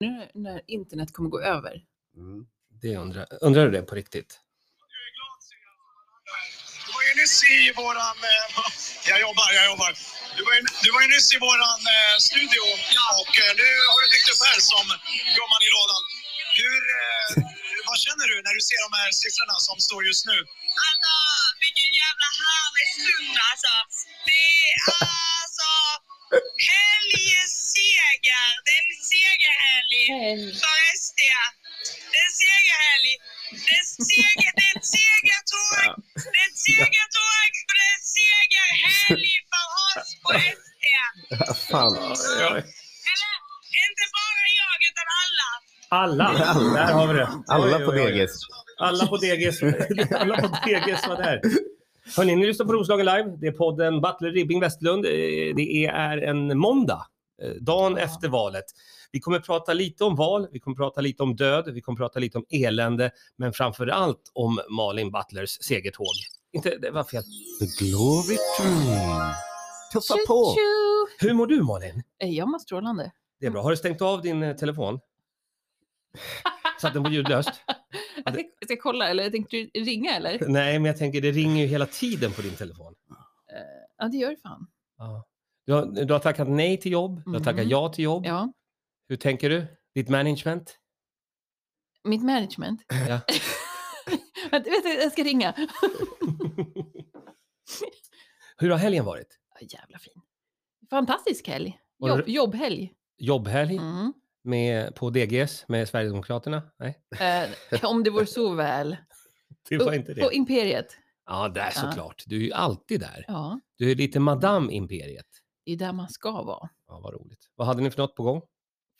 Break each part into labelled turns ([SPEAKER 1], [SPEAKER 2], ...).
[SPEAKER 1] nu när internet kommer gå över.
[SPEAKER 2] Mm. Det undrar, undrar du det på riktigt?
[SPEAKER 3] Du var ju nyss i våran... Eh, jag jobbar, jag jobbar. Du var ju, du var ju nyss i våran eh, studio ja. och eh, nu har du dykt upp här som gumman i lådan. Hur, eh, vad känner du när du ser de här siffrorna som står just nu?
[SPEAKER 4] Alltså, vilken jävla härlig stund alltså. Det är alltså helgens seger. Det är en segerhelg för SD. Det är en segerhelg. Det är en seger, det är ett segertåg. Det är ett segertåg och det är en segerhelg för oss på SD.
[SPEAKER 5] Fan.
[SPEAKER 4] Eller, inte bara jag utan alla.
[SPEAKER 5] Alla. Där har vi det.
[SPEAKER 6] Alla
[SPEAKER 5] Oj,
[SPEAKER 6] på
[SPEAKER 5] oj, oj.
[SPEAKER 6] degis.
[SPEAKER 5] Alla på DGs. Alla på DGs var där. Hörni, ni lyssnar på Roslagen live. Det är podden Butler Ribbing Westlund. Eh, Det är en måndag, eh, dagen efter valet. Vi kommer prata lite om val, vi kommer prata lite om död, vi kommer prata lite om elände, men framför allt om Malin Butlers segertåg. Inte, det var fel.
[SPEAKER 6] The glory train. Tuffa på.
[SPEAKER 1] Tju-tju!
[SPEAKER 5] Hur mår du Malin?
[SPEAKER 1] Eh, Jag mår strålande.
[SPEAKER 5] Det är bra. Har du stängt av din eh, telefon? Satt den på ljudlöst?
[SPEAKER 1] Jag ska, jag ska kolla, eller tänkte du ringa eller?
[SPEAKER 5] Nej, men jag tänker det ringer ju hela tiden på din telefon.
[SPEAKER 1] Eh, Ja, det gör det fan.
[SPEAKER 5] Du, har, du har tackat nej till jobb, du har tackat
[SPEAKER 1] Mhm.
[SPEAKER 5] ja till jobb.
[SPEAKER 1] Ja.
[SPEAKER 5] Hur tänker du? Ditt management?
[SPEAKER 1] Mitt management.
[SPEAKER 5] Ja.
[SPEAKER 1] Vänta, vänta, jag ska ringa.
[SPEAKER 5] Hur har helgen varit?
[SPEAKER 1] Ja, Jävla fin. Fantastisk helg.
[SPEAKER 5] Var det-
[SPEAKER 1] Jobb, jobbhelg.
[SPEAKER 5] Jobbhelg
[SPEAKER 1] Mm.
[SPEAKER 5] med, på DGS med Sverigedemokraterna? Nej,
[SPEAKER 1] Eh, om det vore så väl.
[SPEAKER 5] det var inte
[SPEAKER 1] På
[SPEAKER 5] det.
[SPEAKER 1] Imperiet.
[SPEAKER 5] Ja, där såklart. Du är ju alltid där.
[SPEAKER 1] Ja,
[SPEAKER 5] Du är lite Madame Imperiet.
[SPEAKER 1] det är där man ska vara.
[SPEAKER 5] Ja, vad roligt. Vad hade ni för något på gång?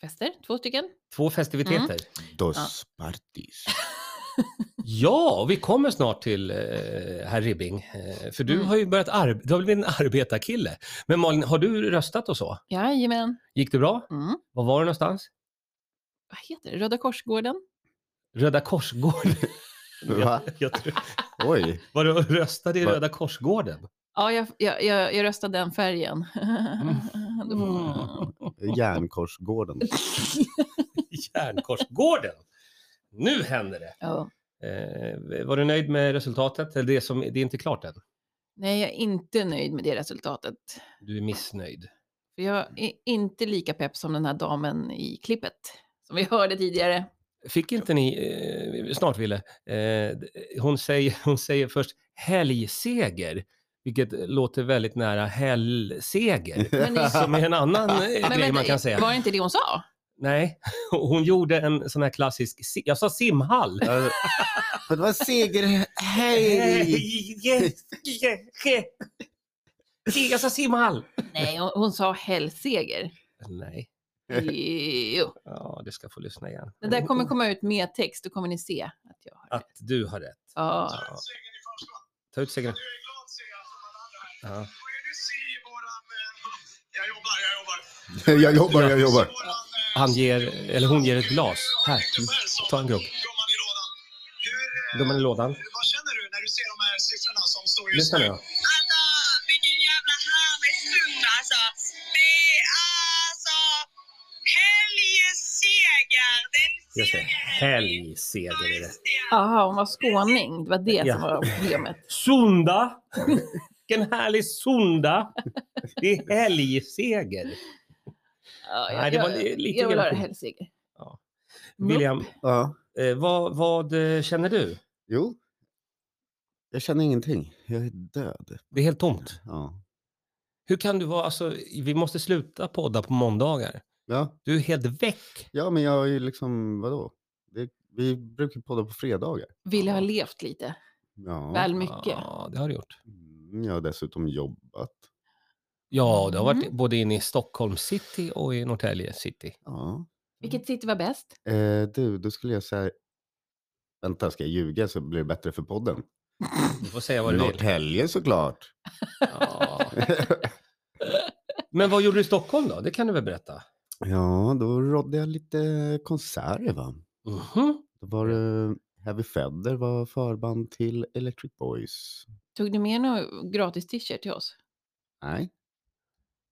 [SPEAKER 1] Fester, två stycken.
[SPEAKER 5] Två festiviteter?
[SPEAKER 1] Mm.
[SPEAKER 6] Dos partis.
[SPEAKER 5] Ja, vi kommer snart till eh, herr Ribbing. Eh, för du
[SPEAKER 1] Mm.
[SPEAKER 5] har ju börjat arbeta, du har blivit en arbetarkille. Men Malin, har du röstat och så?
[SPEAKER 1] Jajamän.
[SPEAKER 5] Gick det bra?
[SPEAKER 1] Mm.
[SPEAKER 5] Var var du någonstans?
[SPEAKER 1] Vad heter det? Röda Korsgården?
[SPEAKER 5] Röda Korsgården.
[SPEAKER 6] Va?
[SPEAKER 5] Jag tror,
[SPEAKER 6] Oj.
[SPEAKER 5] var du och röstade i
[SPEAKER 6] Va?
[SPEAKER 5] Röda Korsgården?
[SPEAKER 1] Ja, jag, jag, jag, jag röstade den färgen.
[SPEAKER 6] Järnkorsgården.
[SPEAKER 5] Järnkorsgården. Nu händer det.
[SPEAKER 1] ja.
[SPEAKER 5] Eh, var du nöjd med resultatet? Eller det, som, det är inte klart än.
[SPEAKER 1] Nej, jag är inte nöjd med det resultatet.
[SPEAKER 5] Du är missnöjd.
[SPEAKER 1] För
[SPEAKER 5] Mm.
[SPEAKER 1] jag är inte lika pepp som den här damen i klippet som vi hörde tidigare.
[SPEAKER 5] Fick inte ni, eh, snart Ville, eh, hon, säger, hon säger först helgseger, vilket låter väldigt nära helgseger.
[SPEAKER 1] Men ni-
[SPEAKER 5] Som är en annan eh, grej man kan säga.
[SPEAKER 1] var det inte det hon sa?
[SPEAKER 5] Nej, hon gjorde en sån här klassisk, si- jag sa simhall.
[SPEAKER 6] Ja, Men det var seger... Hej!
[SPEAKER 5] Jag sa simhall.
[SPEAKER 1] Nej, hon, hon sa helseger.
[SPEAKER 5] Nej,
[SPEAKER 1] Jo.
[SPEAKER 5] ja, det ska få lyssna igen.
[SPEAKER 1] Det där kommer komma ut med text, då kommer ni se att jag har rätt.
[SPEAKER 5] Att du har rätt.
[SPEAKER 1] Ja.
[SPEAKER 5] Ja. Ta ut segern.
[SPEAKER 3] Du
[SPEAKER 5] Ja.
[SPEAKER 3] var ju nyss i våran... Eh, jag jobbar, jag jobbar.
[SPEAKER 6] Jag jobbar, jag jobbar.
[SPEAKER 3] Våran, eh,
[SPEAKER 5] Han ger, eller hon ger ett glas. Här, ta en grogg.
[SPEAKER 3] gumman i lådan. Hur,
[SPEAKER 5] Gumman i lådan.
[SPEAKER 3] eh, vad känner du när du ser de här siffrorna som står just
[SPEAKER 5] Lyssna nu.
[SPEAKER 3] nu?
[SPEAKER 5] då.
[SPEAKER 4] Alltså, vilken jävla härlig stund alltså. Det är alltså helgens seger. Det är en
[SPEAKER 5] Just det.
[SPEAKER 4] seger.
[SPEAKER 5] Helgseger är det.
[SPEAKER 1] Aha, hon var skåning. Det var det
[SPEAKER 5] Ja.
[SPEAKER 1] som var problemet.
[SPEAKER 5] Sunda! Vilken härlig sunda! Det är helgseger.
[SPEAKER 1] Ja,
[SPEAKER 5] Nej,
[SPEAKER 1] jag,
[SPEAKER 5] det var
[SPEAKER 1] jag,
[SPEAKER 5] li- lite
[SPEAKER 1] jag vill höra
[SPEAKER 5] grann-
[SPEAKER 1] helseger.
[SPEAKER 5] William,
[SPEAKER 6] Ja.
[SPEAKER 5] eh, vad, vad eh, känner du?
[SPEAKER 6] Jo. Jag känner ingenting. Jag är död.
[SPEAKER 5] Det är helt tomt.
[SPEAKER 6] Ja.
[SPEAKER 5] Hur kan du vara, alltså, vi måste sluta podda på måndagar.
[SPEAKER 6] Ja,
[SPEAKER 5] Du är helt väck.
[SPEAKER 6] ja men jag är ju liksom, vadå? Det, vi brukar podda på fredagar.
[SPEAKER 1] Vill jag ha levt lite?
[SPEAKER 6] Ja.
[SPEAKER 1] Väl mycket?
[SPEAKER 5] Ja, det har du gjort.
[SPEAKER 6] Mm, Jag har dessutom jobbat.
[SPEAKER 5] Ja, du har varit
[SPEAKER 1] Mm.
[SPEAKER 5] både inne i Stockholm city och i Norrtälje city.
[SPEAKER 6] Ja.
[SPEAKER 1] Vilket city var bäst?
[SPEAKER 6] Eh, du, då skulle jag säga... Vänta, ska jag ljuga så blir det bättre för podden?
[SPEAKER 5] Du får säga vad du vill.
[SPEAKER 6] Norrtälje såklart.
[SPEAKER 5] Ja. Men vad gjorde du i Stockholm då? Det kan du väl berätta?
[SPEAKER 6] ja, då rådde jag lite konserter va?
[SPEAKER 5] Mhm.
[SPEAKER 6] Då var det Heavy Feather var förband till Electric Boys.
[SPEAKER 1] Tog du med någon gratis t-shirt till oss?
[SPEAKER 6] Nej.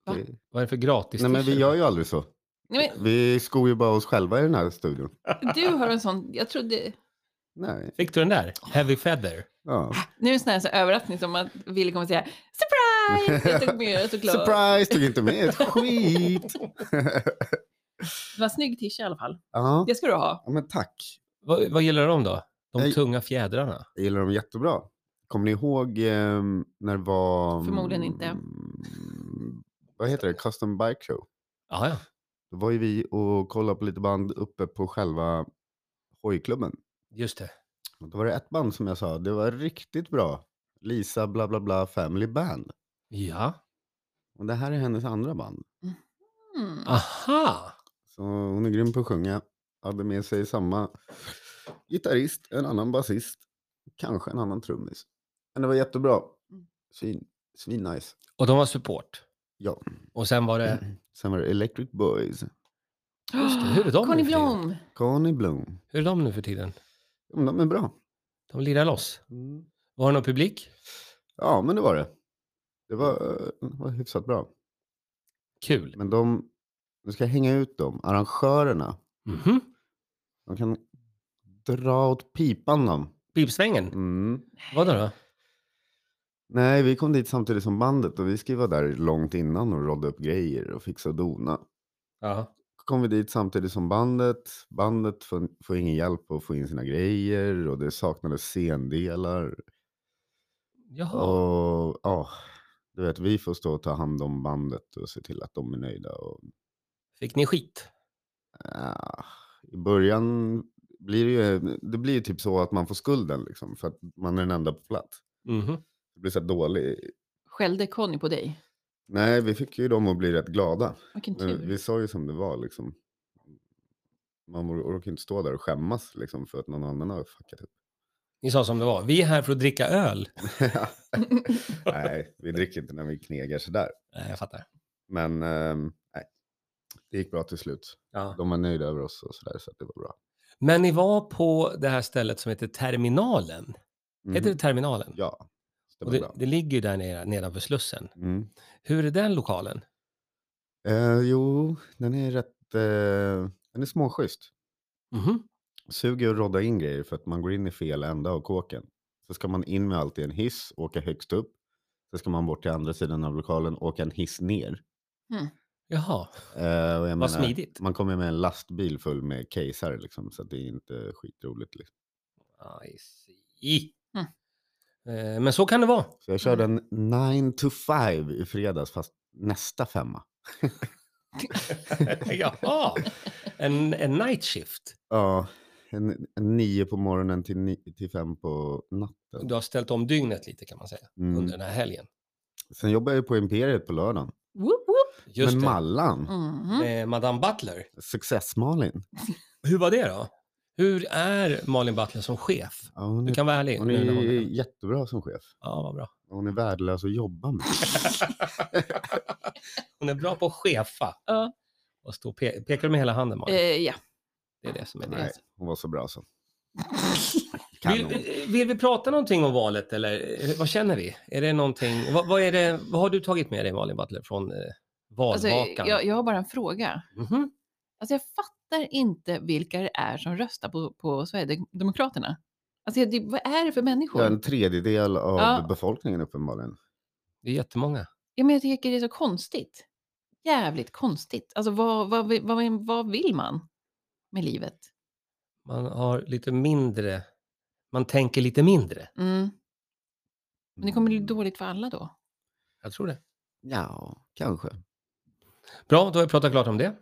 [SPEAKER 1] Va?
[SPEAKER 6] Det-
[SPEAKER 5] Vad är det för gratis
[SPEAKER 6] Nej men vi
[SPEAKER 5] t-shirt?
[SPEAKER 6] gör ju aldrig så.
[SPEAKER 1] Nej, men
[SPEAKER 6] Vi skor ju bara oss själva i den här studion.
[SPEAKER 1] du har en sån, jag trodde,
[SPEAKER 6] Nej.
[SPEAKER 5] Fick du den där? Heavy Feather.
[SPEAKER 6] Ja.
[SPEAKER 1] nu är det en sån här så överraskning som att Ville kommer säga surprise! Jag tog med det såklart.
[SPEAKER 6] Surprise, tog inte med ett skit.
[SPEAKER 1] Det var en snygg tisha i alla fall.
[SPEAKER 6] ja.
[SPEAKER 1] Det ska du ha.
[SPEAKER 6] ja, men tack.
[SPEAKER 5] Vad, vad gillar de då? De
[SPEAKER 6] Nej.
[SPEAKER 5] tunga fjädrarna.
[SPEAKER 6] Jag gillar dem jättebra. Kommer ni ihåg eh, när det var...
[SPEAKER 1] Förmodligen inte.
[SPEAKER 6] Mm, Vad heter det? Custom Bike Show.
[SPEAKER 5] Ja, ja.
[SPEAKER 6] Då var ju vi och kollade på lite band uppe på själva hojklubben.
[SPEAKER 5] Just det.
[SPEAKER 6] Och Då var det ett band som jag sa, det var riktigt bra. Lisa bla bla bla Family Band.
[SPEAKER 5] Ja.
[SPEAKER 6] Och det här är hennes andra band.
[SPEAKER 1] Mm.
[SPEAKER 5] Aha!
[SPEAKER 6] Så hon är grym på att sjunga. Hade med sig samma gitarrist, en annan basist, kanske en annan trummis. Men det var jättebra.
[SPEAKER 1] Mm.
[SPEAKER 6] Svin, svin nice.
[SPEAKER 5] Och de var support.
[SPEAKER 6] Ja. Mm.
[SPEAKER 5] Och sen var det...
[SPEAKER 6] Sen var det Electric Boys,
[SPEAKER 5] Just det, hur är de
[SPEAKER 1] Conny
[SPEAKER 5] nu för tiden?
[SPEAKER 1] Blom!
[SPEAKER 6] Conny Blom.
[SPEAKER 5] Hur är de nu för tiden?
[SPEAKER 6] Ja, men De är bra.
[SPEAKER 5] De lirar loss. Var det någon publik?
[SPEAKER 6] Ja, men det var det. Det var, eh, det var hyfsat bra.
[SPEAKER 5] Kul.
[SPEAKER 6] Men de, nu ska jag hänga ut dem, arrangörerna.
[SPEAKER 5] Mhm.
[SPEAKER 6] De kan dra åt pipan dem.
[SPEAKER 5] Pipsvängen.
[SPEAKER 6] Mm.
[SPEAKER 5] Vadå då?
[SPEAKER 6] Nej, vi kom dit samtidigt som bandet och vi skulle vara där långt innan och rodda upp grejer och fixa och dona.
[SPEAKER 5] Ja.
[SPEAKER 6] Kom vi dit samtidigt som bandet. Bandet får, får ingen hjälp att få in sina grejer och det saknades scendelar.
[SPEAKER 5] Jaha.
[SPEAKER 6] Och ja, du vet, vi får stå och ta hand om bandet och se till att de är nöjda. Och,
[SPEAKER 5] Fick ni skit?
[SPEAKER 6] ah, I början blir det ju, det blir ju typ så att man får skulden liksom, för att man är den enda på plats.
[SPEAKER 5] Mhm.
[SPEAKER 6] Det blir så här dålig.
[SPEAKER 1] Skällde Conny på dig?
[SPEAKER 6] Nej, vi fick ju dem att bli rätt glada.
[SPEAKER 1] Vilken
[SPEAKER 6] Men
[SPEAKER 1] tur.
[SPEAKER 6] vi sa ju som det var liksom. Man or- orkar inte stå där och skämmas liksom för att någon annan har fuckat upp.
[SPEAKER 5] Ni sa som det var. Vi är här för att dricka öl.
[SPEAKER 6] nej, vi dricker inte när vi knegar sådär.
[SPEAKER 5] Nej, jag fattar.
[SPEAKER 6] Men ehm, nej, det gick bra till slut.
[SPEAKER 5] Ja.
[SPEAKER 6] De var nöjda över oss och sådär så att det var bra.
[SPEAKER 5] Men ni var på det här stället som heter Terminalen.
[SPEAKER 6] Mhm.
[SPEAKER 5] Heter det Terminalen?
[SPEAKER 6] Ja,
[SPEAKER 5] Och
[SPEAKER 6] stämmer
[SPEAKER 5] det,
[SPEAKER 6] bra.
[SPEAKER 5] det ligger ju där nere, nedanför Slussen.
[SPEAKER 6] Mm.
[SPEAKER 5] Hur är den lokalen?
[SPEAKER 6] Eh, jo, den är rätt, eh, den är småschysst.
[SPEAKER 5] Mhm.
[SPEAKER 6] Suger att rodda in grejer för att man går in i fel ända av kåken. Så ska man in med allt i en hiss, åka högst upp. Sen ska man bort till andra sidan av lokalen, åka en hiss ner.
[SPEAKER 5] Jaha,
[SPEAKER 6] Eh, och jag
[SPEAKER 5] vad
[SPEAKER 6] menar,
[SPEAKER 5] smidigt.
[SPEAKER 6] Man kommer med en lastbil full med casear liksom, så att det är inte skitroligt. Liksom.
[SPEAKER 5] I see.
[SPEAKER 1] Mm.
[SPEAKER 5] Eh, Men så kan det vara.
[SPEAKER 6] Så jag körde en 9 to 5 i fredags, fast nästa femma.
[SPEAKER 5] Jaha, en, en night shift.
[SPEAKER 6] Ja, en, en nio på morgonen till, ni, till fem på natten.
[SPEAKER 5] Du har ställt om dygnet lite kan man säga
[SPEAKER 6] Mm.
[SPEAKER 5] under den här helgen.
[SPEAKER 6] Sen jobbar jag ju på Imperiet på lördagen.
[SPEAKER 1] Woop, woop.
[SPEAKER 5] Just
[SPEAKER 6] Men
[SPEAKER 5] det, Mm.
[SPEAKER 6] Mallan,
[SPEAKER 1] Mhm.
[SPEAKER 5] med Madame Butler.
[SPEAKER 6] Success-Malin.
[SPEAKER 5] Hur var det då? Hur är Malin Butler som chef?
[SPEAKER 6] Ja, hon
[SPEAKER 5] Du
[SPEAKER 6] är,
[SPEAKER 5] kan vara ärlig.
[SPEAKER 6] hon
[SPEAKER 5] nu när
[SPEAKER 6] är
[SPEAKER 5] hon är-
[SPEAKER 6] jättebra som chef.
[SPEAKER 5] Ja, vad bra.
[SPEAKER 6] Hon är värdelös att jobba med.
[SPEAKER 5] Hon är bra på att chefa.
[SPEAKER 1] Ja.
[SPEAKER 5] Och stå och pe- pekar du med hela handen
[SPEAKER 1] Eh,
[SPEAKER 5] Malin?
[SPEAKER 1] ja.
[SPEAKER 5] Det är det som är det.
[SPEAKER 6] Nej, hon var så bra så.
[SPEAKER 5] Vill,
[SPEAKER 6] Kanon.
[SPEAKER 5] vill vi prata någonting om valet eller eh, vad känner vi? Är det någonting, vad, vad, är det, vad har du tagit med dig Malin Butler från eh,
[SPEAKER 1] Alltså,
[SPEAKER 5] valvakan?
[SPEAKER 1] jag, jag har bara en fråga.
[SPEAKER 5] Mhm.
[SPEAKER 1] Alltså, jag fattar inte vilka det är som röstar på, på Sverigedemokraterna. Alltså, det, vad är det för människor?
[SPEAKER 6] Ja, en tredjedel av
[SPEAKER 1] Ja.
[SPEAKER 6] befolkningen uppenbarligen.
[SPEAKER 5] Det är jättemånga.
[SPEAKER 1] Ja, men jag tycker det är så konstigt. Jävligt konstigt. Alltså, vad, vad, vi- vad, vad vill man med livet?
[SPEAKER 5] Man har lite mindre, man tänker lite mindre.
[SPEAKER 1] Mm. Men det kommer bli
[SPEAKER 5] Mm.
[SPEAKER 1] dåligt för alla då.
[SPEAKER 5] Jag tror det.
[SPEAKER 6] Ja, kanske.
[SPEAKER 5] Bra, då har vi pratat klart om det.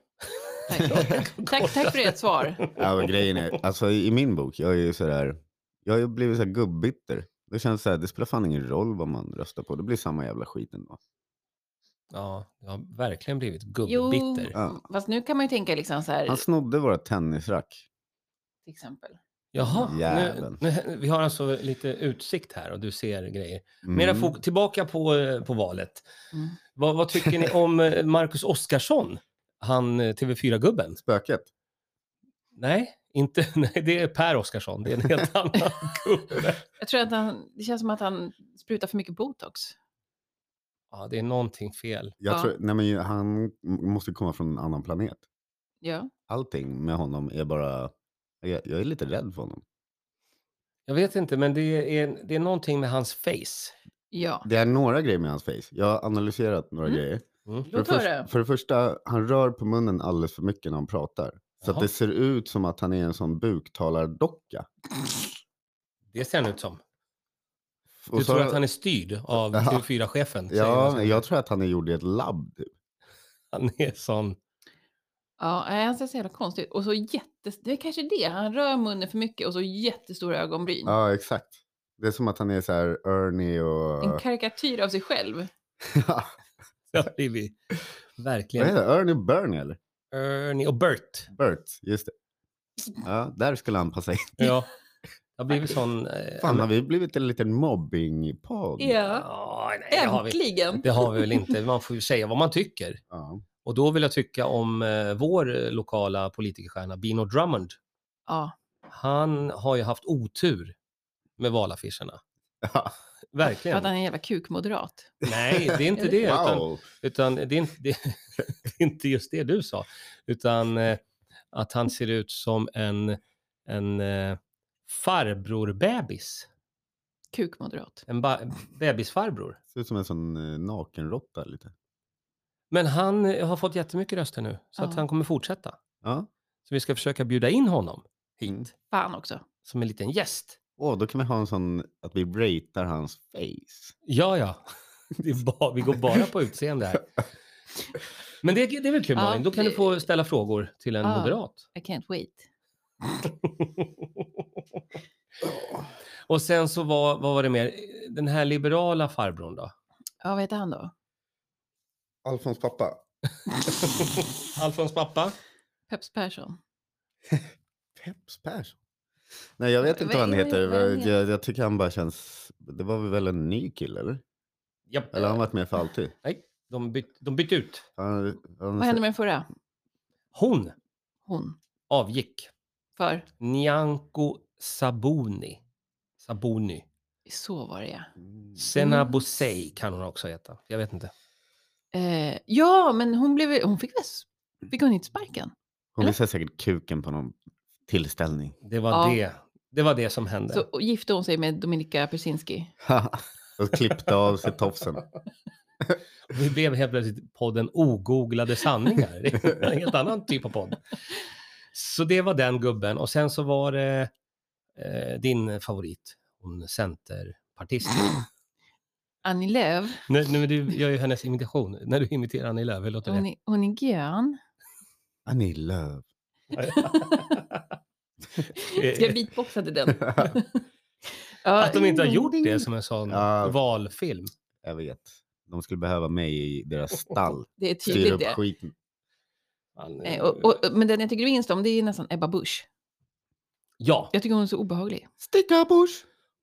[SPEAKER 1] Tack, tack, tack för ert svar.
[SPEAKER 6] Ja, men grejen är, alltså i min bok, jag är ju sådär, jag har ju blivit såhär gubbitter. Det känns såhär, det spelar fan ingen roll vad man röstar på, det blir samma jävla skit ändå.
[SPEAKER 5] Ja, jag har verkligen blivit
[SPEAKER 1] Jo,
[SPEAKER 5] gubbitter.
[SPEAKER 6] Ja.
[SPEAKER 1] fast nu kan man ju tänka liksom så här,
[SPEAKER 6] Han snodde våra tennisrack.
[SPEAKER 1] till exempel.
[SPEAKER 5] Jaha, nu,
[SPEAKER 6] Jäveln.
[SPEAKER 5] nu, vi har alltså lite utsikt här och du ser grejer.
[SPEAKER 6] Mm.
[SPEAKER 5] Mera fok- tillbaka på, eh, på valet.
[SPEAKER 1] Mm.
[SPEAKER 5] Vad, vad tycker ni om eh, Marcus Oskarsson? Han eh, TV4-gubben?
[SPEAKER 6] Spöket.
[SPEAKER 5] Nej, inte, nej, det är Per Oskarsson. Det är en helt annan gubbe.
[SPEAKER 1] Jag tror att han, det känns som att han sprutar för mycket botox.
[SPEAKER 5] Ja, det är någonting fel.
[SPEAKER 6] Jag
[SPEAKER 1] Ja.
[SPEAKER 6] tror, nej men ju- han m- måste komma från en annan planet.
[SPEAKER 1] Ja.
[SPEAKER 6] Allting med honom är bara... Jag, jag är lite rädd för honom.
[SPEAKER 5] Jag vet inte, men det är, det är någonting med hans face.
[SPEAKER 1] Ja.
[SPEAKER 6] Det är några grejer med hans face. Jag har analyserat några
[SPEAKER 1] Mm.
[SPEAKER 6] grejer. För det,
[SPEAKER 1] Låt höra.
[SPEAKER 6] första, för det första, han rör på munnen alldeles för mycket när han pratar. Så att
[SPEAKER 5] Jaha.
[SPEAKER 6] det ser ut som att han är en sån buktalardocka.
[SPEAKER 5] Det ser han ut som.
[SPEAKER 6] Och
[SPEAKER 5] Du
[SPEAKER 6] så-
[SPEAKER 5] tror att han är alltså? styrd av
[SPEAKER 6] Ja.
[SPEAKER 5] TV4-chefen? säger de så
[SPEAKER 6] Ja,
[SPEAKER 5] här.
[SPEAKER 6] jag tror att han är gjord i ett labb. typ.
[SPEAKER 5] Han är sån.
[SPEAKER 1] Ja, nej, han ser så jävla konstigt ut. Och så jättes... Det är kanske det. Han rör munnen för mycket och så jättestora
[SPEAKER 5] Mm.
[SPEAKER 1] ögonbryn.
[SPEAKER 6] Ja, exakt. Det är som att han är så här Ernie
[SPEAKER 1] En
[SPEAKER 6] och...
[SPEAKER 1] karikatyr av sig själv.
[SPEAKER 5] Det har blivit
[SPEAKER 6] Vad
[SPEAKER 5] verkligen.
[SPEAKER 6] heter det? Ernie Bernie eller?
[SPEAKER 5] Ernie och Bert.
[SPEAKER 6] Bert, just det. Ja, där skulle han passa in.
[SPEAKER 5] Ja. Det har blivit sån... eh,
[SPEAKER 6] Fan, har vi blivit en liten mobbingpodd?
[SPEAKER 1] Ja.
[SPEAKER 5] Ja, nej, det har vi.
[SPEAKER 1] Äntligen.
[SPEAKER 5] Det har vi väl inte. Man får ju säga vad man tycker.
[SPEAKER 6] Ja.
[SPEAKER 5] Och då vill jag tycka om eh, vår eh, lokala politikerstjärna Bino Drummond.
[SPEAKER 1] Ja.
[SPEAKER 5] Han har ju haft otur med valaffischerna.
[SPEAKER 6] Ja.
[SPEAKER 1] För att
[SPEAKER 5] Verkligen.
[SPEAKER 1] han är en jävla kukmoderat.
[SPEAKER 5] Nej, det är inte det. Utan,
[SPEAKER 6] Wow.
[SPEAKER 5] Utan det är, inte, det, det är inte just det du sa, utan eh, att han ser ut som en, en eh, farbrorbebis.
[SPEAKER 1] Kukmoderat.
[SPEAKER 5] En ba- bebisfarbror.
[SPEAKER 6] Ser ut som en sån eh, nakenrotta lite.
[SPEAKER 5] Men han eh, har fått jättemycket röster nu, så att
[SPEAKER 1] Ja.
[SPEAKER 5] han kommer fortsätta.
[SPEAKER 6] Ja.
[SPEAKER 5] Så vi ska försöka bjuda in honom hit,
[SPEAKER 6] Mm.
[SPEAKER 1] Fan också.
[SPEAKER 5] som en liten gäst.
[SPEAKER 6] Åh, då kan vi ha en sån att vi ratear hans face.
[SPEAKER 5] Ja, ja. Det är ba- vi går bara på utseende här. Men det, det är väl kul,
[SPEAKER 1] Ja,
[SPEAKER 5] Malin? Då kan du
[SPEAKER 1] det-
[SPEAKER 5] få ställa frågor till en
[SPEAKER 1] Ja.
[SPEAKER 5] moderat.
[SPEAKER 1] I can't wait.
[SPEAKER 5] Och sen så var, vad var det mer? Den här liberala farbrorn då?
[SPEAKER 1] Ja, vad heter han då?
[SPEAKER 6] Alfons pappa.
[SPEAKER 5] Alfons pappa?
[SPEAKER 1] Peps Persson.
[SPEAKER 6] Peps Persson. Nej, jag vet inte vad han
[SPEAKER 1] Vad- vad-
[SPEAKER 6] heter.
[SPEAKER 1] vad han heter?
[SPEAKER 6] Jag, jag tycker han bara känns... Det var väl en ny kille, eller?
[SPEAKER 5] Japp.
[SPEAKER 6] Eller har han varit med för alltid?
[SPEAKER 5] Nej, de bytte de bytte ut.
[SPEAKER 6] Han, han,
[SPEAKER 1] Vad hände med den förra?
[SPEAKER 5] Hon
[SPEAKER 1] Hon.
[SPEAKER 5] avgick.
[SPEAKER 1] För?
[SPEAKER 5] Nyamko Sabuni. Sabuni.
[SPEAKER 1] Så var det ja.
[SPEAKER 6] Mm.
[SPEAKER 5] Senabusei kan hon också heta. Jag vet inte.
[SPEAKER 1] Eh, ja, men hon blev Hon fick väl... s- Fick hon inte sparken?
[SPEAKER 6] Hon visar säkert kuken på någon tillställning.
[SPEAKER 5] Det var,
[SPEAKER 1] Ja.
[SPEAKER 5] det. det, var det som hände.
[SPEAKER 1] Så och gifte hon sig med Dominika Persinski.
[SPEAKER 6] och klippte av sig tofsen.
[SPEAKER 5] Vi blev helt plötsligt podden Ogooglade sanningar. Det är en helt annan typ av podd. Så det var den gubben. Och sen så var det eh, din favorit, hon centerpartisten.
[SPEAKER 1] Annie Lööf.
[SPEAKER 5] Nej, nej, men du gör ju hennes imitation. När du imiterar Annie Lööf, hur låter
[SPEAKER 1] Hon
[SPEAKER 5] det?
[SPEAKER 1] är, hon är grön.
[SPEAKER 6] Annie Lööf.
[SPEAKER 1] Ska jag beatboxa till den?
[SPEAKER 5] Att de inte har gjort det som en sån
[SPEAKER 6] Ja.
[SPEAKER 5] valfilm.
[SPEAKER 6] Jag vet. De skulle behöva mig i deras stall.
[SPEAKER 1] Det är
[SPEAKER 6] Styr
[SPEAKER 1] tydligt
[SPEAKER 6] upp
[SPEAKER 1] det.
[SPEAKER 6] skiten.
[SPEAKER 5] Man,
[SPEAKER 1] Eh,
[SPEAKER 5] eh,
[SPEAKER 1] Och, och, men den jag tycker minst om det är nästan Ebba Busch.
[SPEAKER 5] Ja,
[SPEAKER 1] Jag tycker hon är så obehaglig.
[SPEAKER 6] Sticka Bush!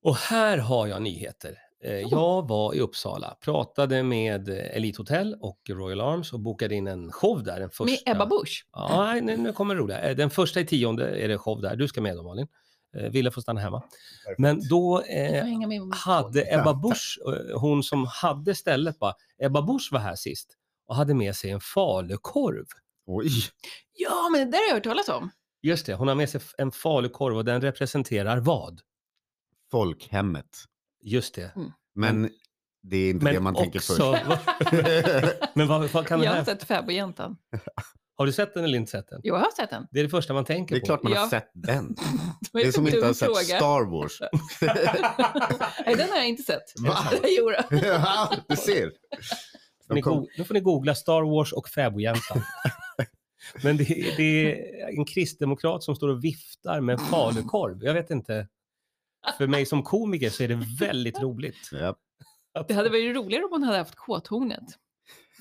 [SPEAKER 5] och här har jag nyheter. Eh, Jag var i Uppsala, pratade med eh, Elite Hotel och Royal Arms och bokade in en show där. Den första.
[SPEAKER 1] Med Ebba Busch.
[SPEAKER 5] Ja, nej, nu, nu kommer det roliga. Eh, Den första i tionde är det show där. Du ska med då Malin. Eh, Ville får stanna hemma. Men då
[SPEAKER 1] Du får
[SPEAKER 5] eh,
[SPEAKER 1] hänga med på min
[SPEAKER 5] hade
[SPEAKER 1] telefon.
[SPEAKER 5] Ebba Busch, eh, hon som hade stället bara, Ebba Busch var här sist och hade med sig en falukorv.
[SPEAKER 6] Oj!
[SPEAKER 1] Ja, men det där har jag hört talas om.
[SPEAKER 5] Just det, hon har med sig f- en falukorv och den representerar vad?
[SPEAKER 6] Folkhemmet.
[SPEAKER 5] Just det.
[SPEAKER 6] Men det är inte det man tänker först.
[SPEAKER 5] vad, men vad, vad kan den
[SPEAKER 1] Jag har
[SPEAKER 5] här,
[SPEAKER 1] sett Fäbodjäntan.
[SPEAKER 5] har du sett den eller inte sett den?
[SPEAKER 1] Jo, jag har sett den.
[SPEAKER 5] Det är det första man tänker
[SPEAKER 6] det är klart man har
[SPEAKER 1] Ja.
[SPEAKER 6] sett den.
[SPEAKER 1] var
[SPEAKER 6] Det är
[SPEAKER 1] en
[SPEAKER 6] som inte
[SPEAKER 1] dum
[SPEAKER 6] har sett Star Wars.
[SPEAKER 1] Nej, den har jag inte sett.
[SPEAKER 6] Va?
[SPEAKER 1] Jo, då.
[SPEAKER 6] Ja, du ser.
[SPEAKER 5] på. Ni
[SPEAKER 6] De kom,
[SPEAKER 5] go- Nu får ni googla Star Wars och fäbodjäntan. men det, är- det är en kristdemokrat som står och viftar med en falukorv. Jag vet inte. För mig som komiker så är det väldigt roligt.
[SPEAKER 6] ja.
[SPEAKER 5] Att,
[SPEAKER 1] Det hade varit roligare om hon hade haft kåthornet.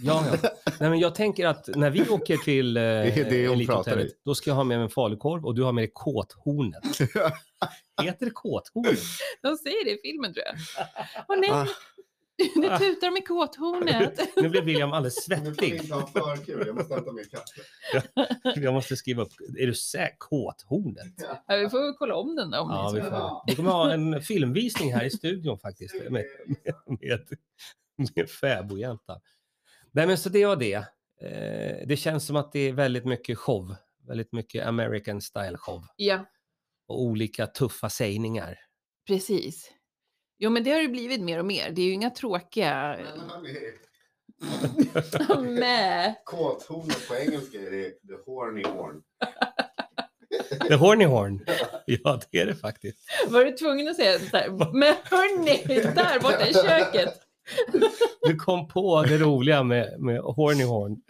[SPEAKER 5] ja, ja. Nej, men jag tänker att när vi åker till eh,
[SPEAKER 6] är det hon pratar
[SPEAKER 5] Elithotellet,
[SPEAKER 6] i.
[SPEAKER 5] då ska jag ha med mig en falukorv och du har med dig kåthornet. Heter det kåthornet?
[SPEAKER 1] De säger det i filmen tror jag. Åh nej,
[SPEAKER 6] Ah,
[SPEAKER 1] det tutar med kåthornet.
[SPEAKER 5] Nu blev William alldeles svettig.
[SPEAKER 6] ha för kul, jag måste hämta min kaffe.
[SPEAKER 5] Jag måste skriva upp. Är du säker? Kåthornet?
[SPEAKER 1] Ja, vi får väl kolla om den då. Om
[SPEAKER 5] Ja,
[SPEAKER 1] ni
[SPEAKER 5] vi
[SPEAKER 1] så-
[SPEAKER 5] får. Vi kommer ha en filmvisning här i studion faktiskt. Med, med, med, med fäbodjäntan. Nej, men så det var det. Eh, det känns som att det är väldigt mycket show Väldigt mycket American style show
[SPEAKER 1] Ja,
[SPEAKER 5] och olika tuffa sägningar.
[SPEAKER 1] precis. Jo, men det har det blivit mer och mer. Det är ju inga tråkiga... Med.
[SPEAKER 6] K-tonen på engelska är det the horny horn.
[SPEAKER 5] The Horny Horn. Ja, det är det faktiskt.
[SPEAKER 1] Var du tvungen att säga så här? Men hörni, där borta i köket.
[SPEAKER 5] Du kom på det roliga med, med Horny Horn.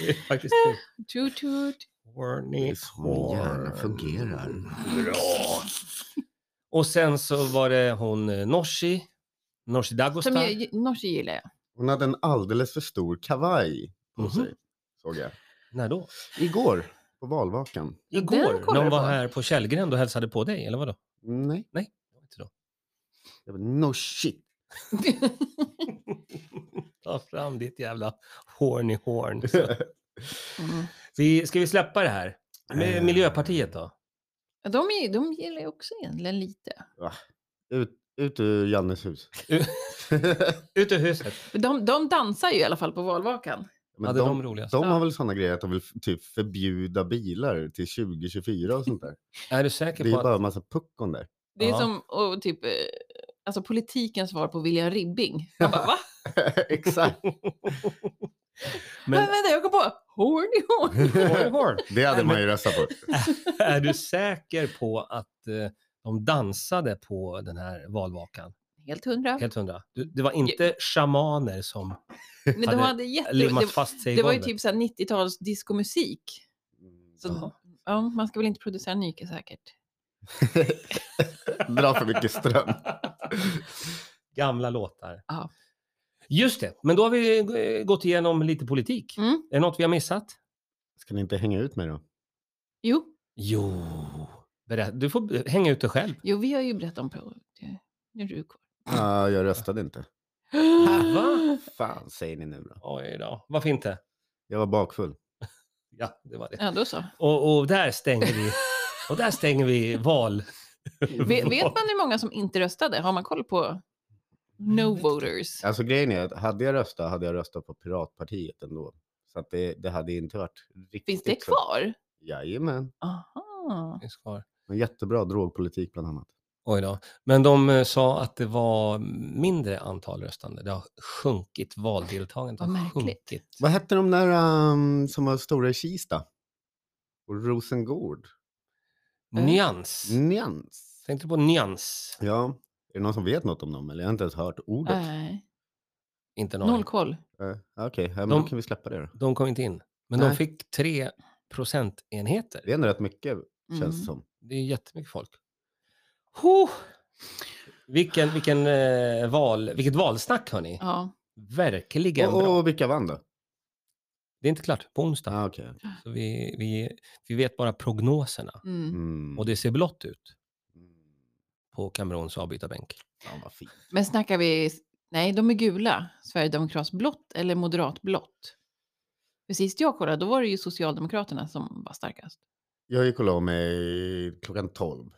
[SPEAKER 5] Det är faktiskt kul.
[SPEAKER 1] Toot toot.
[SPEAKER 5] Horny Horn.
[SPEAKER 6] fungerar.
[SPEAKER 5] Bra. Och sen så var det hon eh, Nooshi. Nooshi
[SPEAKER 1] Som
[SPEAKER 5] Dagostar.
[SPEAKER 1] jag, norsk gillar jag.
[SPEAKER 6] Hon hade en alldeles för stor kavaj på
[SPEAKER 5] Mhm.
[SPEAKER 6] sig, såg jag.
[SPEAKER 5] När då?
[SPEAKER 6] Igår, på valvakan.
[SPEAKER 1] Den
[SPEAKER 5] Igår,
[SPEAKER 1] kollar
[SPEAKER 5] när hon
[SPEAKER 1] du
[SPEAKER 5] var
[SPEAKER 1] på.
[SPEAKER 5] här på Källgren och hälsade på dig, eller vadå?
[SPEAKER 6] Mm, Nej,
[SPEAKER 5] Det var inte då.
[SPEAKER 6] jag bara, no shit.
[SPEAKER 5] Ta fram ditt jävla horny horn. Så.
[SPEAKER 1] Mm.
[SPEAKER 5] Vi, ska vi släppa det här? Med
[SPEAKER 6] Eh.
[SPEAKER 5] Miljöpartiet då?
[SPEAKER 1] Ja, De, är- de gillar jag också egentligen lite.
[SPEAKER 6] Ut, ut ur Jannes hus.
[SPEAKER 5] U- Ut ur huset.
[SPEAKER 1] De, de dansar ju i alla fall på valvakan.
[SPEAKER 6] Men
[SPEAKER 5] Hade de,
[SPEAKER 6] de,
[SPEAKER 5] roligast?
[SPEAKER 6] de har väl sådana grejer att de vill f- typ förbjuda bilar till 2024 och sånt där.
[SPEAKER 5] Är du säker
[SPEAKER 6] Det är
[SPEAKER 5] på
[SPEAKER 6] bara
[SPEAKER 5] att...
[SPEAKER 6] en massa puckon där.
[SPEAKER 1] Det är
[SPEAKER 5] Ja.
[SPEAKER 1] som och typ, eh, alltså politikens svar på William Ribbing. Man bara, va?
[SPEAKER 6] Exakt.
[SPEAKER 1] Men...
[SPEAKER 5] Men
[SPEAKER 1] vänta, jag kom på horny horn.
[SPEAKER 5] horny horn.
[SPEAKER 6] Det hade
[SPEAKER 5] Nej,
[SPEAKER 6] man
[SPEAKER 5] men-
[SPEAKER 6] ju röstat på.
[SPEAKER 5] Är du säker på att eh, de dansade på den här valvakan?
[SPEAKER 1] Helt hundra.
[SPEAKER 5] Helt hundra. Du, det var inte shamaner som
[SPEAKER 1] Men de
[SPEAKER 5] hade
[SPEAKER 1] hade jätte...
[SPEAKER 5] limmat
[SPEAKER 1] Det,
[SPEAKER 5] fast sig i
[SPEAKER 1] det var ju
[SPEAKER 5] golvet?
[SPEAKER 1] typ så här 90-tals diskomusik. Så,
[SPEAKER 5] Jaha.
[SPEAKER 1] ja, man ska väl inte producera nyke säkert.
[SPEAKER 6] Dra för mycket ström.
[SPEAKER 5] Gamla låtar.
[SPEAKER 1] Ja.
[SPEAKER 5] Just det, men då har vi eh, gått igenom lite politik.
[SPEAKER 1] Mm.
[SPEAKER 5] Är det något vi har missat?
[SPEAKER 6] Ska ni inte hänga ut mig då?
[SPEAKER 1] Jo,
[SPEAKER 5] Jo, Berä- du får b- hänga ut dig själv.
[SPEAKER 1] jo vi har ju berättat om på... det- Nu är du kvar.
[SPEAKER 6] Ja, jag röstade inte.
[SPEAKER 5] Äh, Va?
[SPEAKER 6] Fan säger ni nu då?
[SPEAKER 5] Oj då, varför inte?
[SPEAKER 6] Jag var bakfull.
[SPEAKER 5] Ja, det var det.
[SPEAKER 1] Ja, då så.
[SPEAKER 5] Och, och där stänger vi, och där stänger vi val.
[SPEAKER 1] Ve- Vet man hur många som inte röstade? Har man koll på no voters?
[SPEAKER 6] Alltså grejen är att hade jag röstat hade jag röstat på Piratpartiet ändå. Så att det, det hade inte varit riktigt
[SPEAKER 1] Finns det
[SPEAKER 6] så.
[SPEAKER 1] kvar?
[SPEAKER 6] Jajamän.
[SPEAKER 1] Aha.
[SPEAKER 5] Finns kvar.
[SPEAKER 6] En jättebra drogpolitik bland annat.
[SPEAKER 5] Oj då. Men de eh, sa att det var mindre antal röstande. Det har sjunkit, valdeltagandet
[SPEAKER 1] Vad
[SPEAKER 5] har
[SPEAKER 1] märkligt.
[SPEAKER 5] sjunkit.
[SPEAKER 6] Vad hette de där ehm, som var stora i Kista? Och Rosengård?
[SPEAKER 5] Nyans.
[SPEAKER 1] Mm.
[SPEAKER 6] Nyans?
[SPEAKER 5] Tänkte du på nyans?
[SPEAKER 6] Ja. Är det någon som vet något om dem? Eller jag har inte ens hört ordet.
[SPEAKER 1] Nej,
[SPEAKER 5] Inte en aning.
[SPEAKER 1] noll koll.
[SPEAKER 6] Eh, Okej, ja, men
[SPEAKER 5] De-
[SPEAKER 6] då kan vi släppa det då.
[SPEAKER 5] De kom inte in. Men de
[SPEAKER 6] Nej.
[SPEAKER 5] fick tre procentenheter.
[SPEAKER 6] Det är ändå rätt mycket känns
[SPEAKER 1] Mm.
[SPEAKER 6] det som.
[SPEAKER 5] Det är jättemycket folk. Huh. Vilken, vilken, eh, val, vilket valsnack hörni.
[SPEAKER 1] Ja.
[SPEAKER 5] Verkligen
[SPEAKER 6] Och,
[SPEAKER 5] bra.
[SPEAKER 6] och vilka vann då?
[SPEAKER 5] Det är inte klart på onsdag.
[SPEAKER 6] Ah, okej.
[SPEAKER 5] Så vi, vi, vi vet bara prognoserna.
[SPEAKER 1] Mm.
[SPEAKER 6] Mm.
[SPEAKER 5] Och det ser blått ut på Kameruns avbytarbänk.
[SPEAKER 6] Fan vad fint.
[SPEAKER 1] Men snackar vi... Nej, de är gula. Sverigedemokratsblått eller moderatblått. För Sist jag kollade, då var det ju Socialdemokraterna som var starkast.
[SPEAKER 6] Jag gick och la mig klockan 12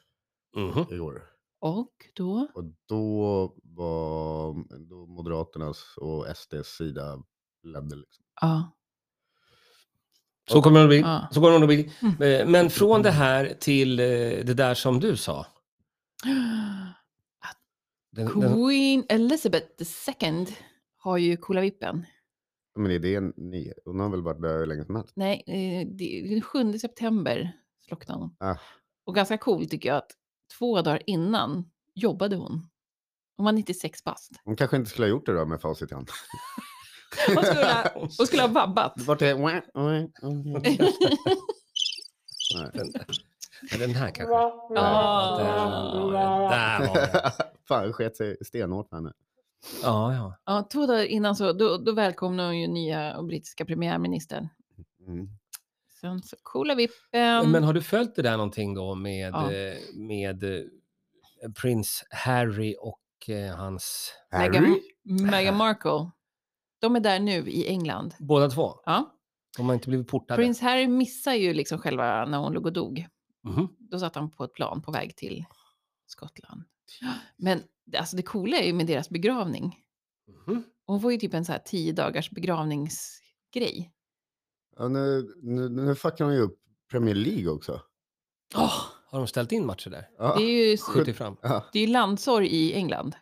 [SPEAKER 5] Mhm.
[SPEAKER 6] igår.
[SPEAKER 1] Och då?
[SPEAKER 6] Och då var då Moderaternas och SDs sida ledde. Liksom.
[SPEAKER 1] Ja.
[SPEAKER 5] Så kommer det att bli.
[SPEAKER 1] Ja.
[SPEAKER 5] Så kommer det att bli.
[SPEAKER 1] Mm.
[SPEAKER 5] Eh, Men från det här till eh, det där som du sa. Den, den,
[SPEAKER 1] Queen Elizabeth II har ju Kolavippen.
[SPEAKER 6] Men är det en nyhet? Hon har väl varit där hur länge som helst?
[SPEAKER 1] Nej, eh, det- den 7 september slocknade hon.
[SPEAKER 6] Ah.
[SPEAKER 1] Och ganska cool tycker jag att två dagar innan jobbade hon. Hon var 96 bast.
[SPEAKER 6] Hon kanske inte skulle ha gjort det då med facit i hand.
[SPEAKER 1] Hon skulle ha, hon skulle ha vabbat.
[SPEAKER 6] Vart är... Wah, wah, wah. Nej.
[SPEAKER 5] den här kanske. Ja, den, där var den.
[SPEAKER 6] Fan, det sket sig stenhårt med henne.
[SPEAKER 5] Ja, ja.
[SPEAKER 1] Ja, två dagar innan så då, då välkomnade hon ju nya och brittiska premiärministern.
[SPEAKER 6] Mm.
[SPEAKER 1] Sen så coola vippen.
[SPEAKER 5] Men har du följt det där någonting då med,
[SPEAKER 1] Ehm. Ja.
[SPEAKER 5] eh, med eh, prins Harry och eh, hans...
[SPEAKER 1] Meghan, Meghan Markle. De är där nu i England.
[SPEAKER 5] Båda två?
[SPEAKER 1] Ja.
[SPEAKER 5] De har inte blivit portade?
[SPEAKER 1] Prins Harry missar ju liksom själva när hon låg och dog.
[SPEAKER 5] Mhm.
[SPEAKER 1] Då satt han på ett plan på väg till Skottland. Men det- alltså det coola är ju med deras begravning.
[SPEAKER 5] Mhm.
[SPEAKER 1] Hon får ju typ en så här tio dagars begravningsgrej.
[SPEAKER 6] Ja, nu, nu, nu fuckar de ju upp Premier League också.
[SPEAKER 1] Åh,
[SPEAKER 5] Har de ställt in matcher där?
[SPEAKER 6] Ja,
[SPEAKER 1] det är ju
[SPEAKER 5] Skjutit fram?
[SPEAKER 6] ja,
[SPEAKER 1] det är ju landsorg i England.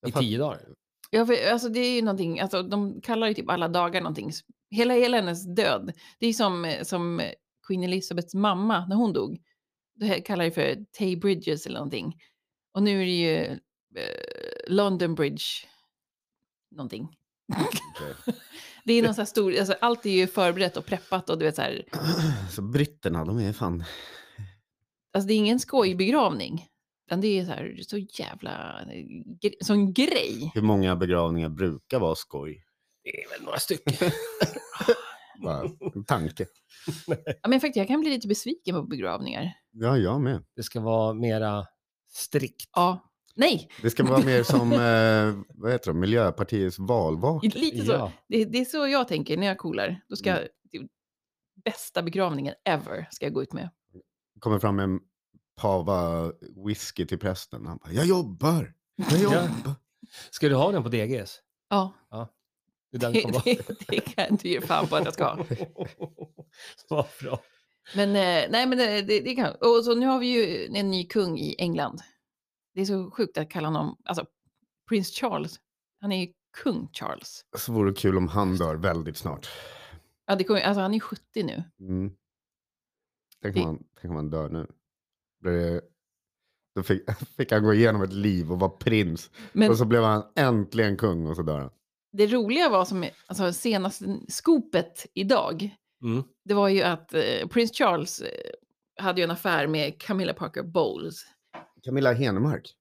[SPEAKER 6] jag
[SPEAKER 5] I
[SPEAKER 6] fatt-
[SPEAKER 5] tio dagar?
[SPEAKER 1] Ja, för, alltså det är ju någonting, alltså de kallar ju typ alla dagar någonting. Hela, hela hennes död, det är ju som, eh, som eh, Queen Elizabeths mamma när hon dog. Det här kallar ju för Tay Bridges eller någonting. Och nu är det ju eh, London Bridge någonting.
[SPEAKER 6] okej.
[SPEAKER 1] Det är någon sån här stor, alltså allt är ju förberett och preppat och du vet så här,
[SPEAKER 6] Så britterna, de är fan...
[SPEAKER 1] alltså det är ingen skojbegravning. Utan det är så här, så jävla, eh, gre- sån grej.
[SPEAKER 6] Hur många begravningar brukar vara skoj?
[SPEAKER 5] Det är väl några stycken.
[SPEAKER 6] Bara en tanke.
[SPEAKER 1] Ja, men faktiskt, jag kan bli lite besviken på begravningar.
[SPEAKER 6] Ja, jag med.
[SPEAKER 5] Det ska vara mera strikt.
[SPEAKER 1] Ja, nej,
[SPEAKER 6] Det ska vara mer som eh, vad heter det, Miljöpartiets valvak.
[SPEAKER 1] Lite så. Det, det är så jag tänker när jag coolar. Då ska typ, bästa begravningen ever ska jag gå ut med.
[SPEAKER 6] Kommer fram med en pava whisky till prästen. Han bara, jag jobbar! Jag
[SPEAKER 5] Ja.
[SPEAKER 6] jobbar!
[SPEAKER 5] Ska du ha den på DGS?
[SPEAKER 1] Ja,
[SPEAKER 5] Det är
[SPEAKER 1] det,
[SPEAKER 5] den som var...
[SPEAKER 1] det, det kan jag inte ge fan på att jag ska ha.
[SPEAKER 5] Vad bra.
[SPEAKER 1] Men eh, nej, men det, det, det kan Och så nu har vi ju en ny kung i England. Det är så sjukt att kalla honom, alltså prins Charles. Han är ju kung Charles.
[SPEAKER 6] Så vore det kul om han dör väldigt snart.
[SPEAKER 1] Ja, det kommer, alltså han är 70 nu.
[SPEAKER 6] Mm. Tänk, om
[SPEAKER 1] Det-
[SPEAKER 6] han, tänk om han dör nu. Blir det- Då fick, fick han gå igenom ett liv och vara prins.
[SPEAKER 1] Men
[SPEAKER 6] Och så blev han äntligen kung och så dör han.
[SPEAKER 1] det roliga var som, alltså senaste skopet idag,
[SPEAKER 5] Mm.
[SPEAKER 1] det var ju att eh, prins Charles eh, hade ju en affär med Camilla Parker Bowles.
[SPEAKER 6] Camilla Henemark.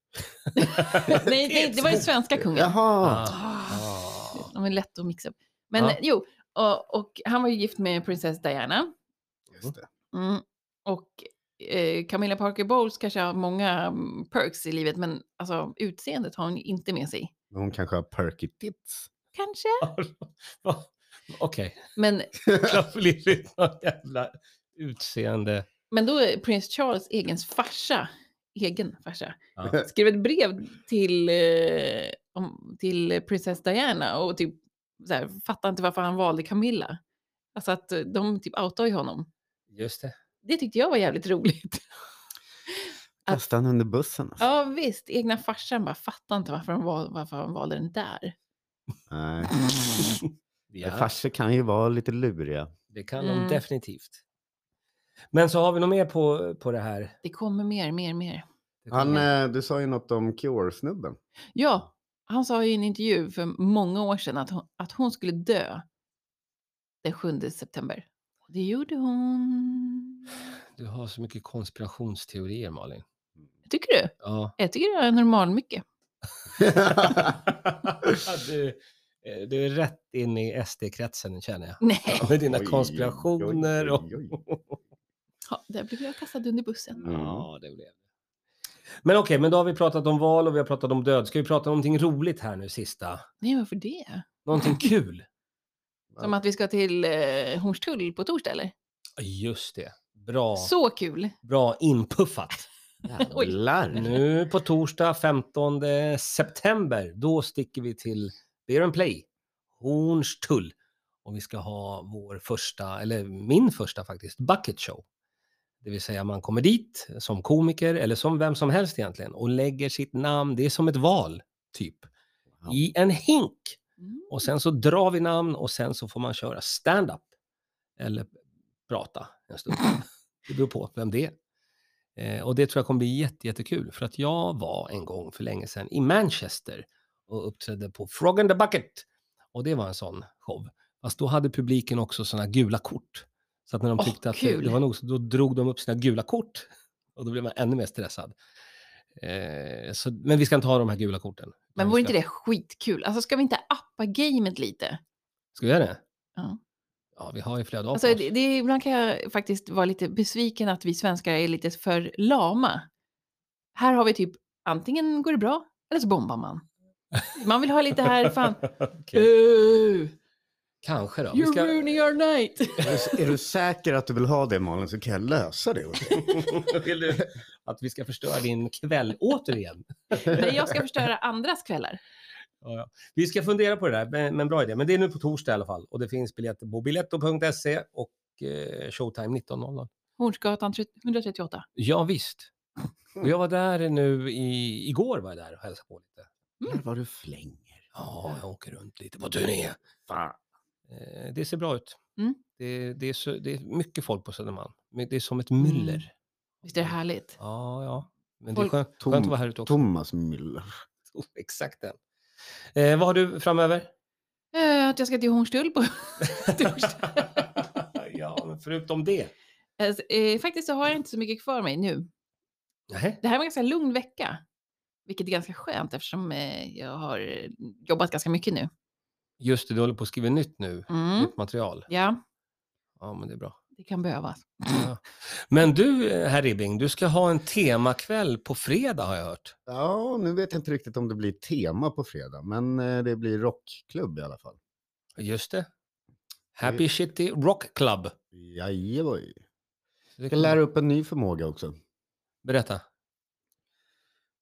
[SPEAKER 1] nej, nej, det var den svenska kungen.
[SPEAKER 6] Jaha!
[SPEAKER 5] Ah.
[SPEAKER 1] Ah,
[SPEAKER 5] Ah.
[SPEAKER 1] De är lätt att mixa upp. Men
[SPEAKER 5] Ja.
[SPEAKER 1] eh, jo, och, och han var ju gift med prinsess Diana.
[SPEAKER 6] Just det.
[SPEAKER 1] Mm. Och eh, Camilla Parker Bowles kanske har många mm, perks i livet, men alltså, utseendet har hon ju inte med sig.
[SPEAKER 6] Men Hon kanske har perky tits.
[SPEAKER 1] Kanske.
[SPEAKER 5] Va? Okej,
[SPEAKER 1] Men,
[SPEAKER 5] jag blir någon jävla utseende...
[SPEAKER 1] men då är prins Charles egen farsa, egen farsa,
[SPEAKER 5] Ja.
[SPEAKER 1] skrev ett brev till, eh, om, till prinsess Diana och typ så här, fattar inte varför han valde Camilla. Alltså att eh, de typ outar ju honom.
[SPEAKER 5] Just det.
[SPEAKER 1] Det tyckte jag var jävligt roligt. Att-
[SPEAKER 6] Kasta han under bussen. Alltså.
[SPEAKER 1] Ja visst, egna farsan bara fattar inte varför han, val, varför han valde den där.
[SPEAKER 6] Nej.
[SPEAKER 5] Ja,
[SPEAKER 6] Farsor kan ju vara lite luriga.
[SPEAKER 5] det kan de
[SPEAKER 1] Mm.
[SPEAKER 5] definitivt. Men så har vi något mer på, på det här.
[SPEAKER 1] Det kommer mer, mer, mer.
[SPEAKER 5] Det
[SPEAKER 6] Han,
[SPEAKER 5] kommer-
[SPEAKER 6] eh, du sa ju något om Cure-snubben.
[SPEAKER 1] Ja, han sa ju i en intervju för många år sedan att hon, att hon skulle dö den 7 september. Det gjorde hon.
[SPEAKER 5] Du har så mycket konspirationsteorier, Malin.
[SPEAKER 1] Tycker du?
[SPEAKER 5] Ja.
[SPEAKER 1] Jag tycker det är normal mycket.
[SPEAKER 5] du, eh, du är rätt in i SD-kretsen, känner jag.
[SPEAKER 1] Nej,
[SPEAKER 5] Med dina
[SPEAKER 6] Oj,
[SPEAKER 5] konspirationer och...
[SPEAKER 6] oj, oj, oj.
[SPEAKER 1] ja, där blev jag kastad under bussen.
[SPEAKER 6] Mm.
[SPEAKER 5] Ja, det blev det. Men okej, men då har vi pratat om val och vi har pratat om död. Ska vi prata om någonting roligt här nu sista?
[SPEAKER 1] Nej, varför det?
[SPEAKER 5] Någonting kul?
[SPEAKER 1] Som att vi ska till eh, Hornstull på torsdag eller?
[SPEAKER 5] Ja, Just det. Bra,
[SPEAKER 1] Så kul!
[SPEAKER 5] bra inpuffat.
[SPEAKER 1] Oj.
[SPEAKER 6] Jävlar.
[SPEAKER 5] Nu på torsdag 15 september, då sticker vi till Beer and Play, Hornstull. Och vi ska ha vår första, eller min första faktiskt, bucket show. Det vill säga man kommer dit som komiker eller som vem som helst egentligen och lägger sitt namn, det är som ett val, typ,
[SPEAKER 6] Wow.
[SPEAKER 5] i en hink.
[SPEAKER 1] Mm.
[SPEAKER 5] Och sen så drar vi namn och sen så får man köra stand-up. Eller prata en stund. Det beror på vem det är. Eh, och det tror jag kommer bli jätte, jättekul. För att jag var en gång för länge sedan i Manchester och uppträdde på Frog and the Bucket. Och det var en sån show. Fast då hade publiken också såna gula kort. Så att när de
[SPEAKER 1] Åh,
[SPEAKER 5] tyckte att det,
[SPEAKER 1] kul.
[SPEAKER 5] det var nog, så- då drog de upp sina gula kort. Och då blev man ännu mer stressad. Eh, så, men vi ska inte ha de här gula korten.
[SPEAKER 1] Men
[SPEAKER 5] Vi
[SPEAKER 1] vore
[SPEAKER 5] ska-
[SPEAKER 1] inte det skitkul? Alltså ska vi inte appa gamet lite?
[SPEAKER 5] Ska vi göra det?
[SPEAKER 1] Ja.
[SPEAKER 5] Ja, vi har ju flöde av
[SPEAKER 1] Alltså,
[SPEAKER 5] oss.
[SPEAKER 1] det, det, ibland kan jag faktiskt vara lite besviken att vi svenskar är lite för lama. Här har vi typ antingen går det bra eller så bombar man. Man vill ha lite här, fan.
[SPEAKER 5] Okej.
[SPEAKER 1] Uh,
[SPEAKER 5] Kanske då. Vi
[SPEAKER 1] you're
[SPEAKER 5] ska-
[SPEAKER 1] ruining our night.
[SPEAKER 6] Är du- Är du säker att du vill ha det Malin så kan jag lösa det åt dig.
[SPEAKER 5] Vill du att vi ska förstöra din kväll återigen?
[SPEAKER 1] Nej, jag ska förstöra andras kvällar.
[SPEAKER 5] Ja, ja. Vi ska fundera på det där, men, men bra idé. Men det är nu på torsdag i alla fall. Och det finns biljetter på biletto.se och eh, showtime 19.00.
[SPEAKER 1] Hornsgatan 30 138.
[SPEAKER 5] Ja, visst. Och jag var där nu i, igår var jag där och hälsade på lite.
[SPEAKER 6] Där var du flänger.
[SPEAKER 5] Ja, jag åker runt lite på turné.
[SPEAKER 6] Fan.
[SPEAKER 5] Eh, det ser bra ut.
[SPEAKER 1] Mm.
[SPEAKER 5] Det, det, är så, det är mycket folk på Södermalm. Men det är som ett myller.
[SPEAKER 1] Mm. Visst är det härligt?
[SPEAKER 5] Ja, ja. Men
[SPEAKER 1] Folk-
[SPEAKER 5] det är skönt,
[SPEAKER 6] Tom-
[SPEAKER 5] skönt att vara här ute också.
[SPEAKER 6] Thomas Müller.
[SPEAKER 5] Oh, Exakt den. Eh, vad har du framöver?
[SPEAKER 1] Eh, att jag ska till Hornstull på torsdag.
[SPEAKER 5] ja, men förutom det.
[SPEAKER 1] Alltså, eh, faktiskt så har jag inte så mycket kvar mig nu.
[SPEAKER 5] Nej.
[SPEAKER 1] Det här var en ganska lugn vecka. Vilket är ganska skönt eftersom eh, jag har eh, jobbat ganska mycket nu.
[SPEAKER 5] Just det, du håller på att skriva nytt nu.
[SPEAKER 1] Mm.
[SPEAKER 5] Nytt material.
[SPEAKER 1] Ja,
[SPEAKER 5] Ja, men det är bra.
[SPEAKER 1] det kan behövas.
[SPEAKER 5] Ja. Men du, eh, herr Ribbing, du ska ha en temakväll på fredag har jag hört.
[SPEAKER 6] Ja, nu vet jag inte riktigt om det blir tema på fredag, men eh, det blir rockklubb i alla fall.
[SPEAKER 5] Just det. Happy Shitty Rock Club.
[SPEAKER 6] Jajeboj.
[SPEAKER 5] Det
[SPEAKER 6] Jag ska lära upp en ny förmåga också.
[SPEAKER 5] Berätta.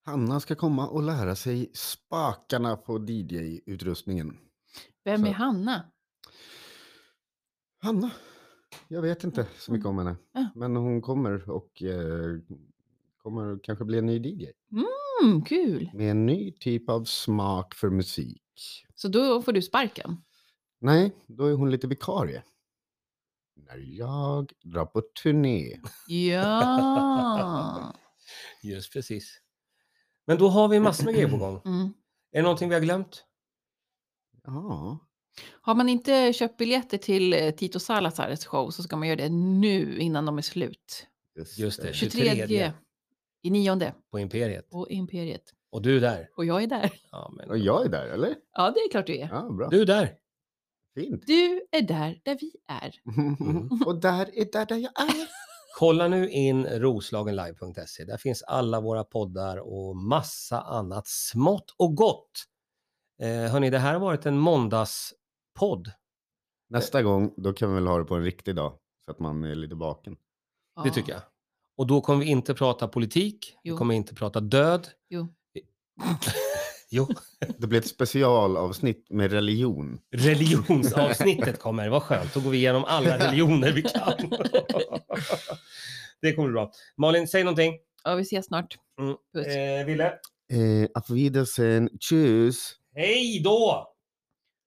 [SPEAKER 6] Hanna ska komma och lära sig spakarna på DJ-utrustningen.
[SPEAKER 1] Vem är
[SPEAKER 6] Så-
[SPEAKER 1] Hanna?
[SPEAKER 6] Hanna? Jag vet
[SPEAKER 5] Mm.
[SPEAKER 6] inte så mycket om henne.
[SPEAKER 1] Ja.
[SPEAKER 6] Men hon kommer och eh, kommer kanske bli en ny DJ.
[SPEAKER 1] Mm, kul!
[SPEAKER 6] Med en ny typ av smak för musik.
[SPEAKER 1] Så då får du sparken.
[SPEAKER 6] Nej, då är hon lite vikarie. När jag drar på turné.
[SPEAKER 1] Ja!
[SPEAKER 5] Just precis. Men då har vi massor med grejer på gång.
[SPEAKER 1] Mm.
[SPEAKER 5] Är det någonting vi har glömt?
[SPEAKER 6] Ja,
[SPEAKER 1] Har man inte köpt biljetter till eh, Tito Salazars show så ska man göra det nu innan de är slut.
[SPEAKER 5] Just det,
[SPEAKER 1] 23 i nionde
[SPEAKER 5] På Imperiet.
[SPEAKER 1] på Imperiet.
[SPEAKER 5] Och du är där.
[SPEAKER 1] Och jag är där.
[SPEAKER 5] Ja, men...
[SPEAKER 6] Och jag är där, eller?
[SPEAKER 1] Ja, det är klart du är.
[SPEAKER 6] Ja, bra.
[SPEAKER 5] Du är där.
[SPEAKER 6] Fint.
[SPEAKER 1] Du är där, där vi är.
[SPEAKER 5] Mm.
[SPEAKER 6] och där är där, där jag är.
[SPEAKER 5] Kolla nu in roslagenlive.se. Där finns alla våra poddar och massa annat smått och gott. Eh, hörni, det här har varit en måndagspodd.
[SPEAKER 6] Nästa gång, då kan vi väl ha det på en riktig dag. Så att man är lite vaken.
[SPEAKER 1] Ja.
[SPEAKER 5] Det tycker jag. Och då kommer vi inte prata politik.
[SPEAKER 1] Jo.
[SPEAKER 5] Vi kommer inte prata död.
[SPEAKER 1] Jo.
[SPEAKER 5] jo.
[SPEAKER 6] Det blir ett specialavsnitt med religion.
[SPEAKER 5] Religionsavsnittet kommer. Vad skönt. Då går vi igenom alla religioner vi kan. det kommer bli bra. Malin, säg någonting.
[SPEAKER 1] Ja, vi ses snart.
[SPEAKER 5] Mm.
[SPEAKER 1] Puss.
[SPEAKER 5] Eh, Ville?
[SPEAKER 6] e Eh, auf Wiedersehen. Tschüss.
[SPEAKER 5] Hej då!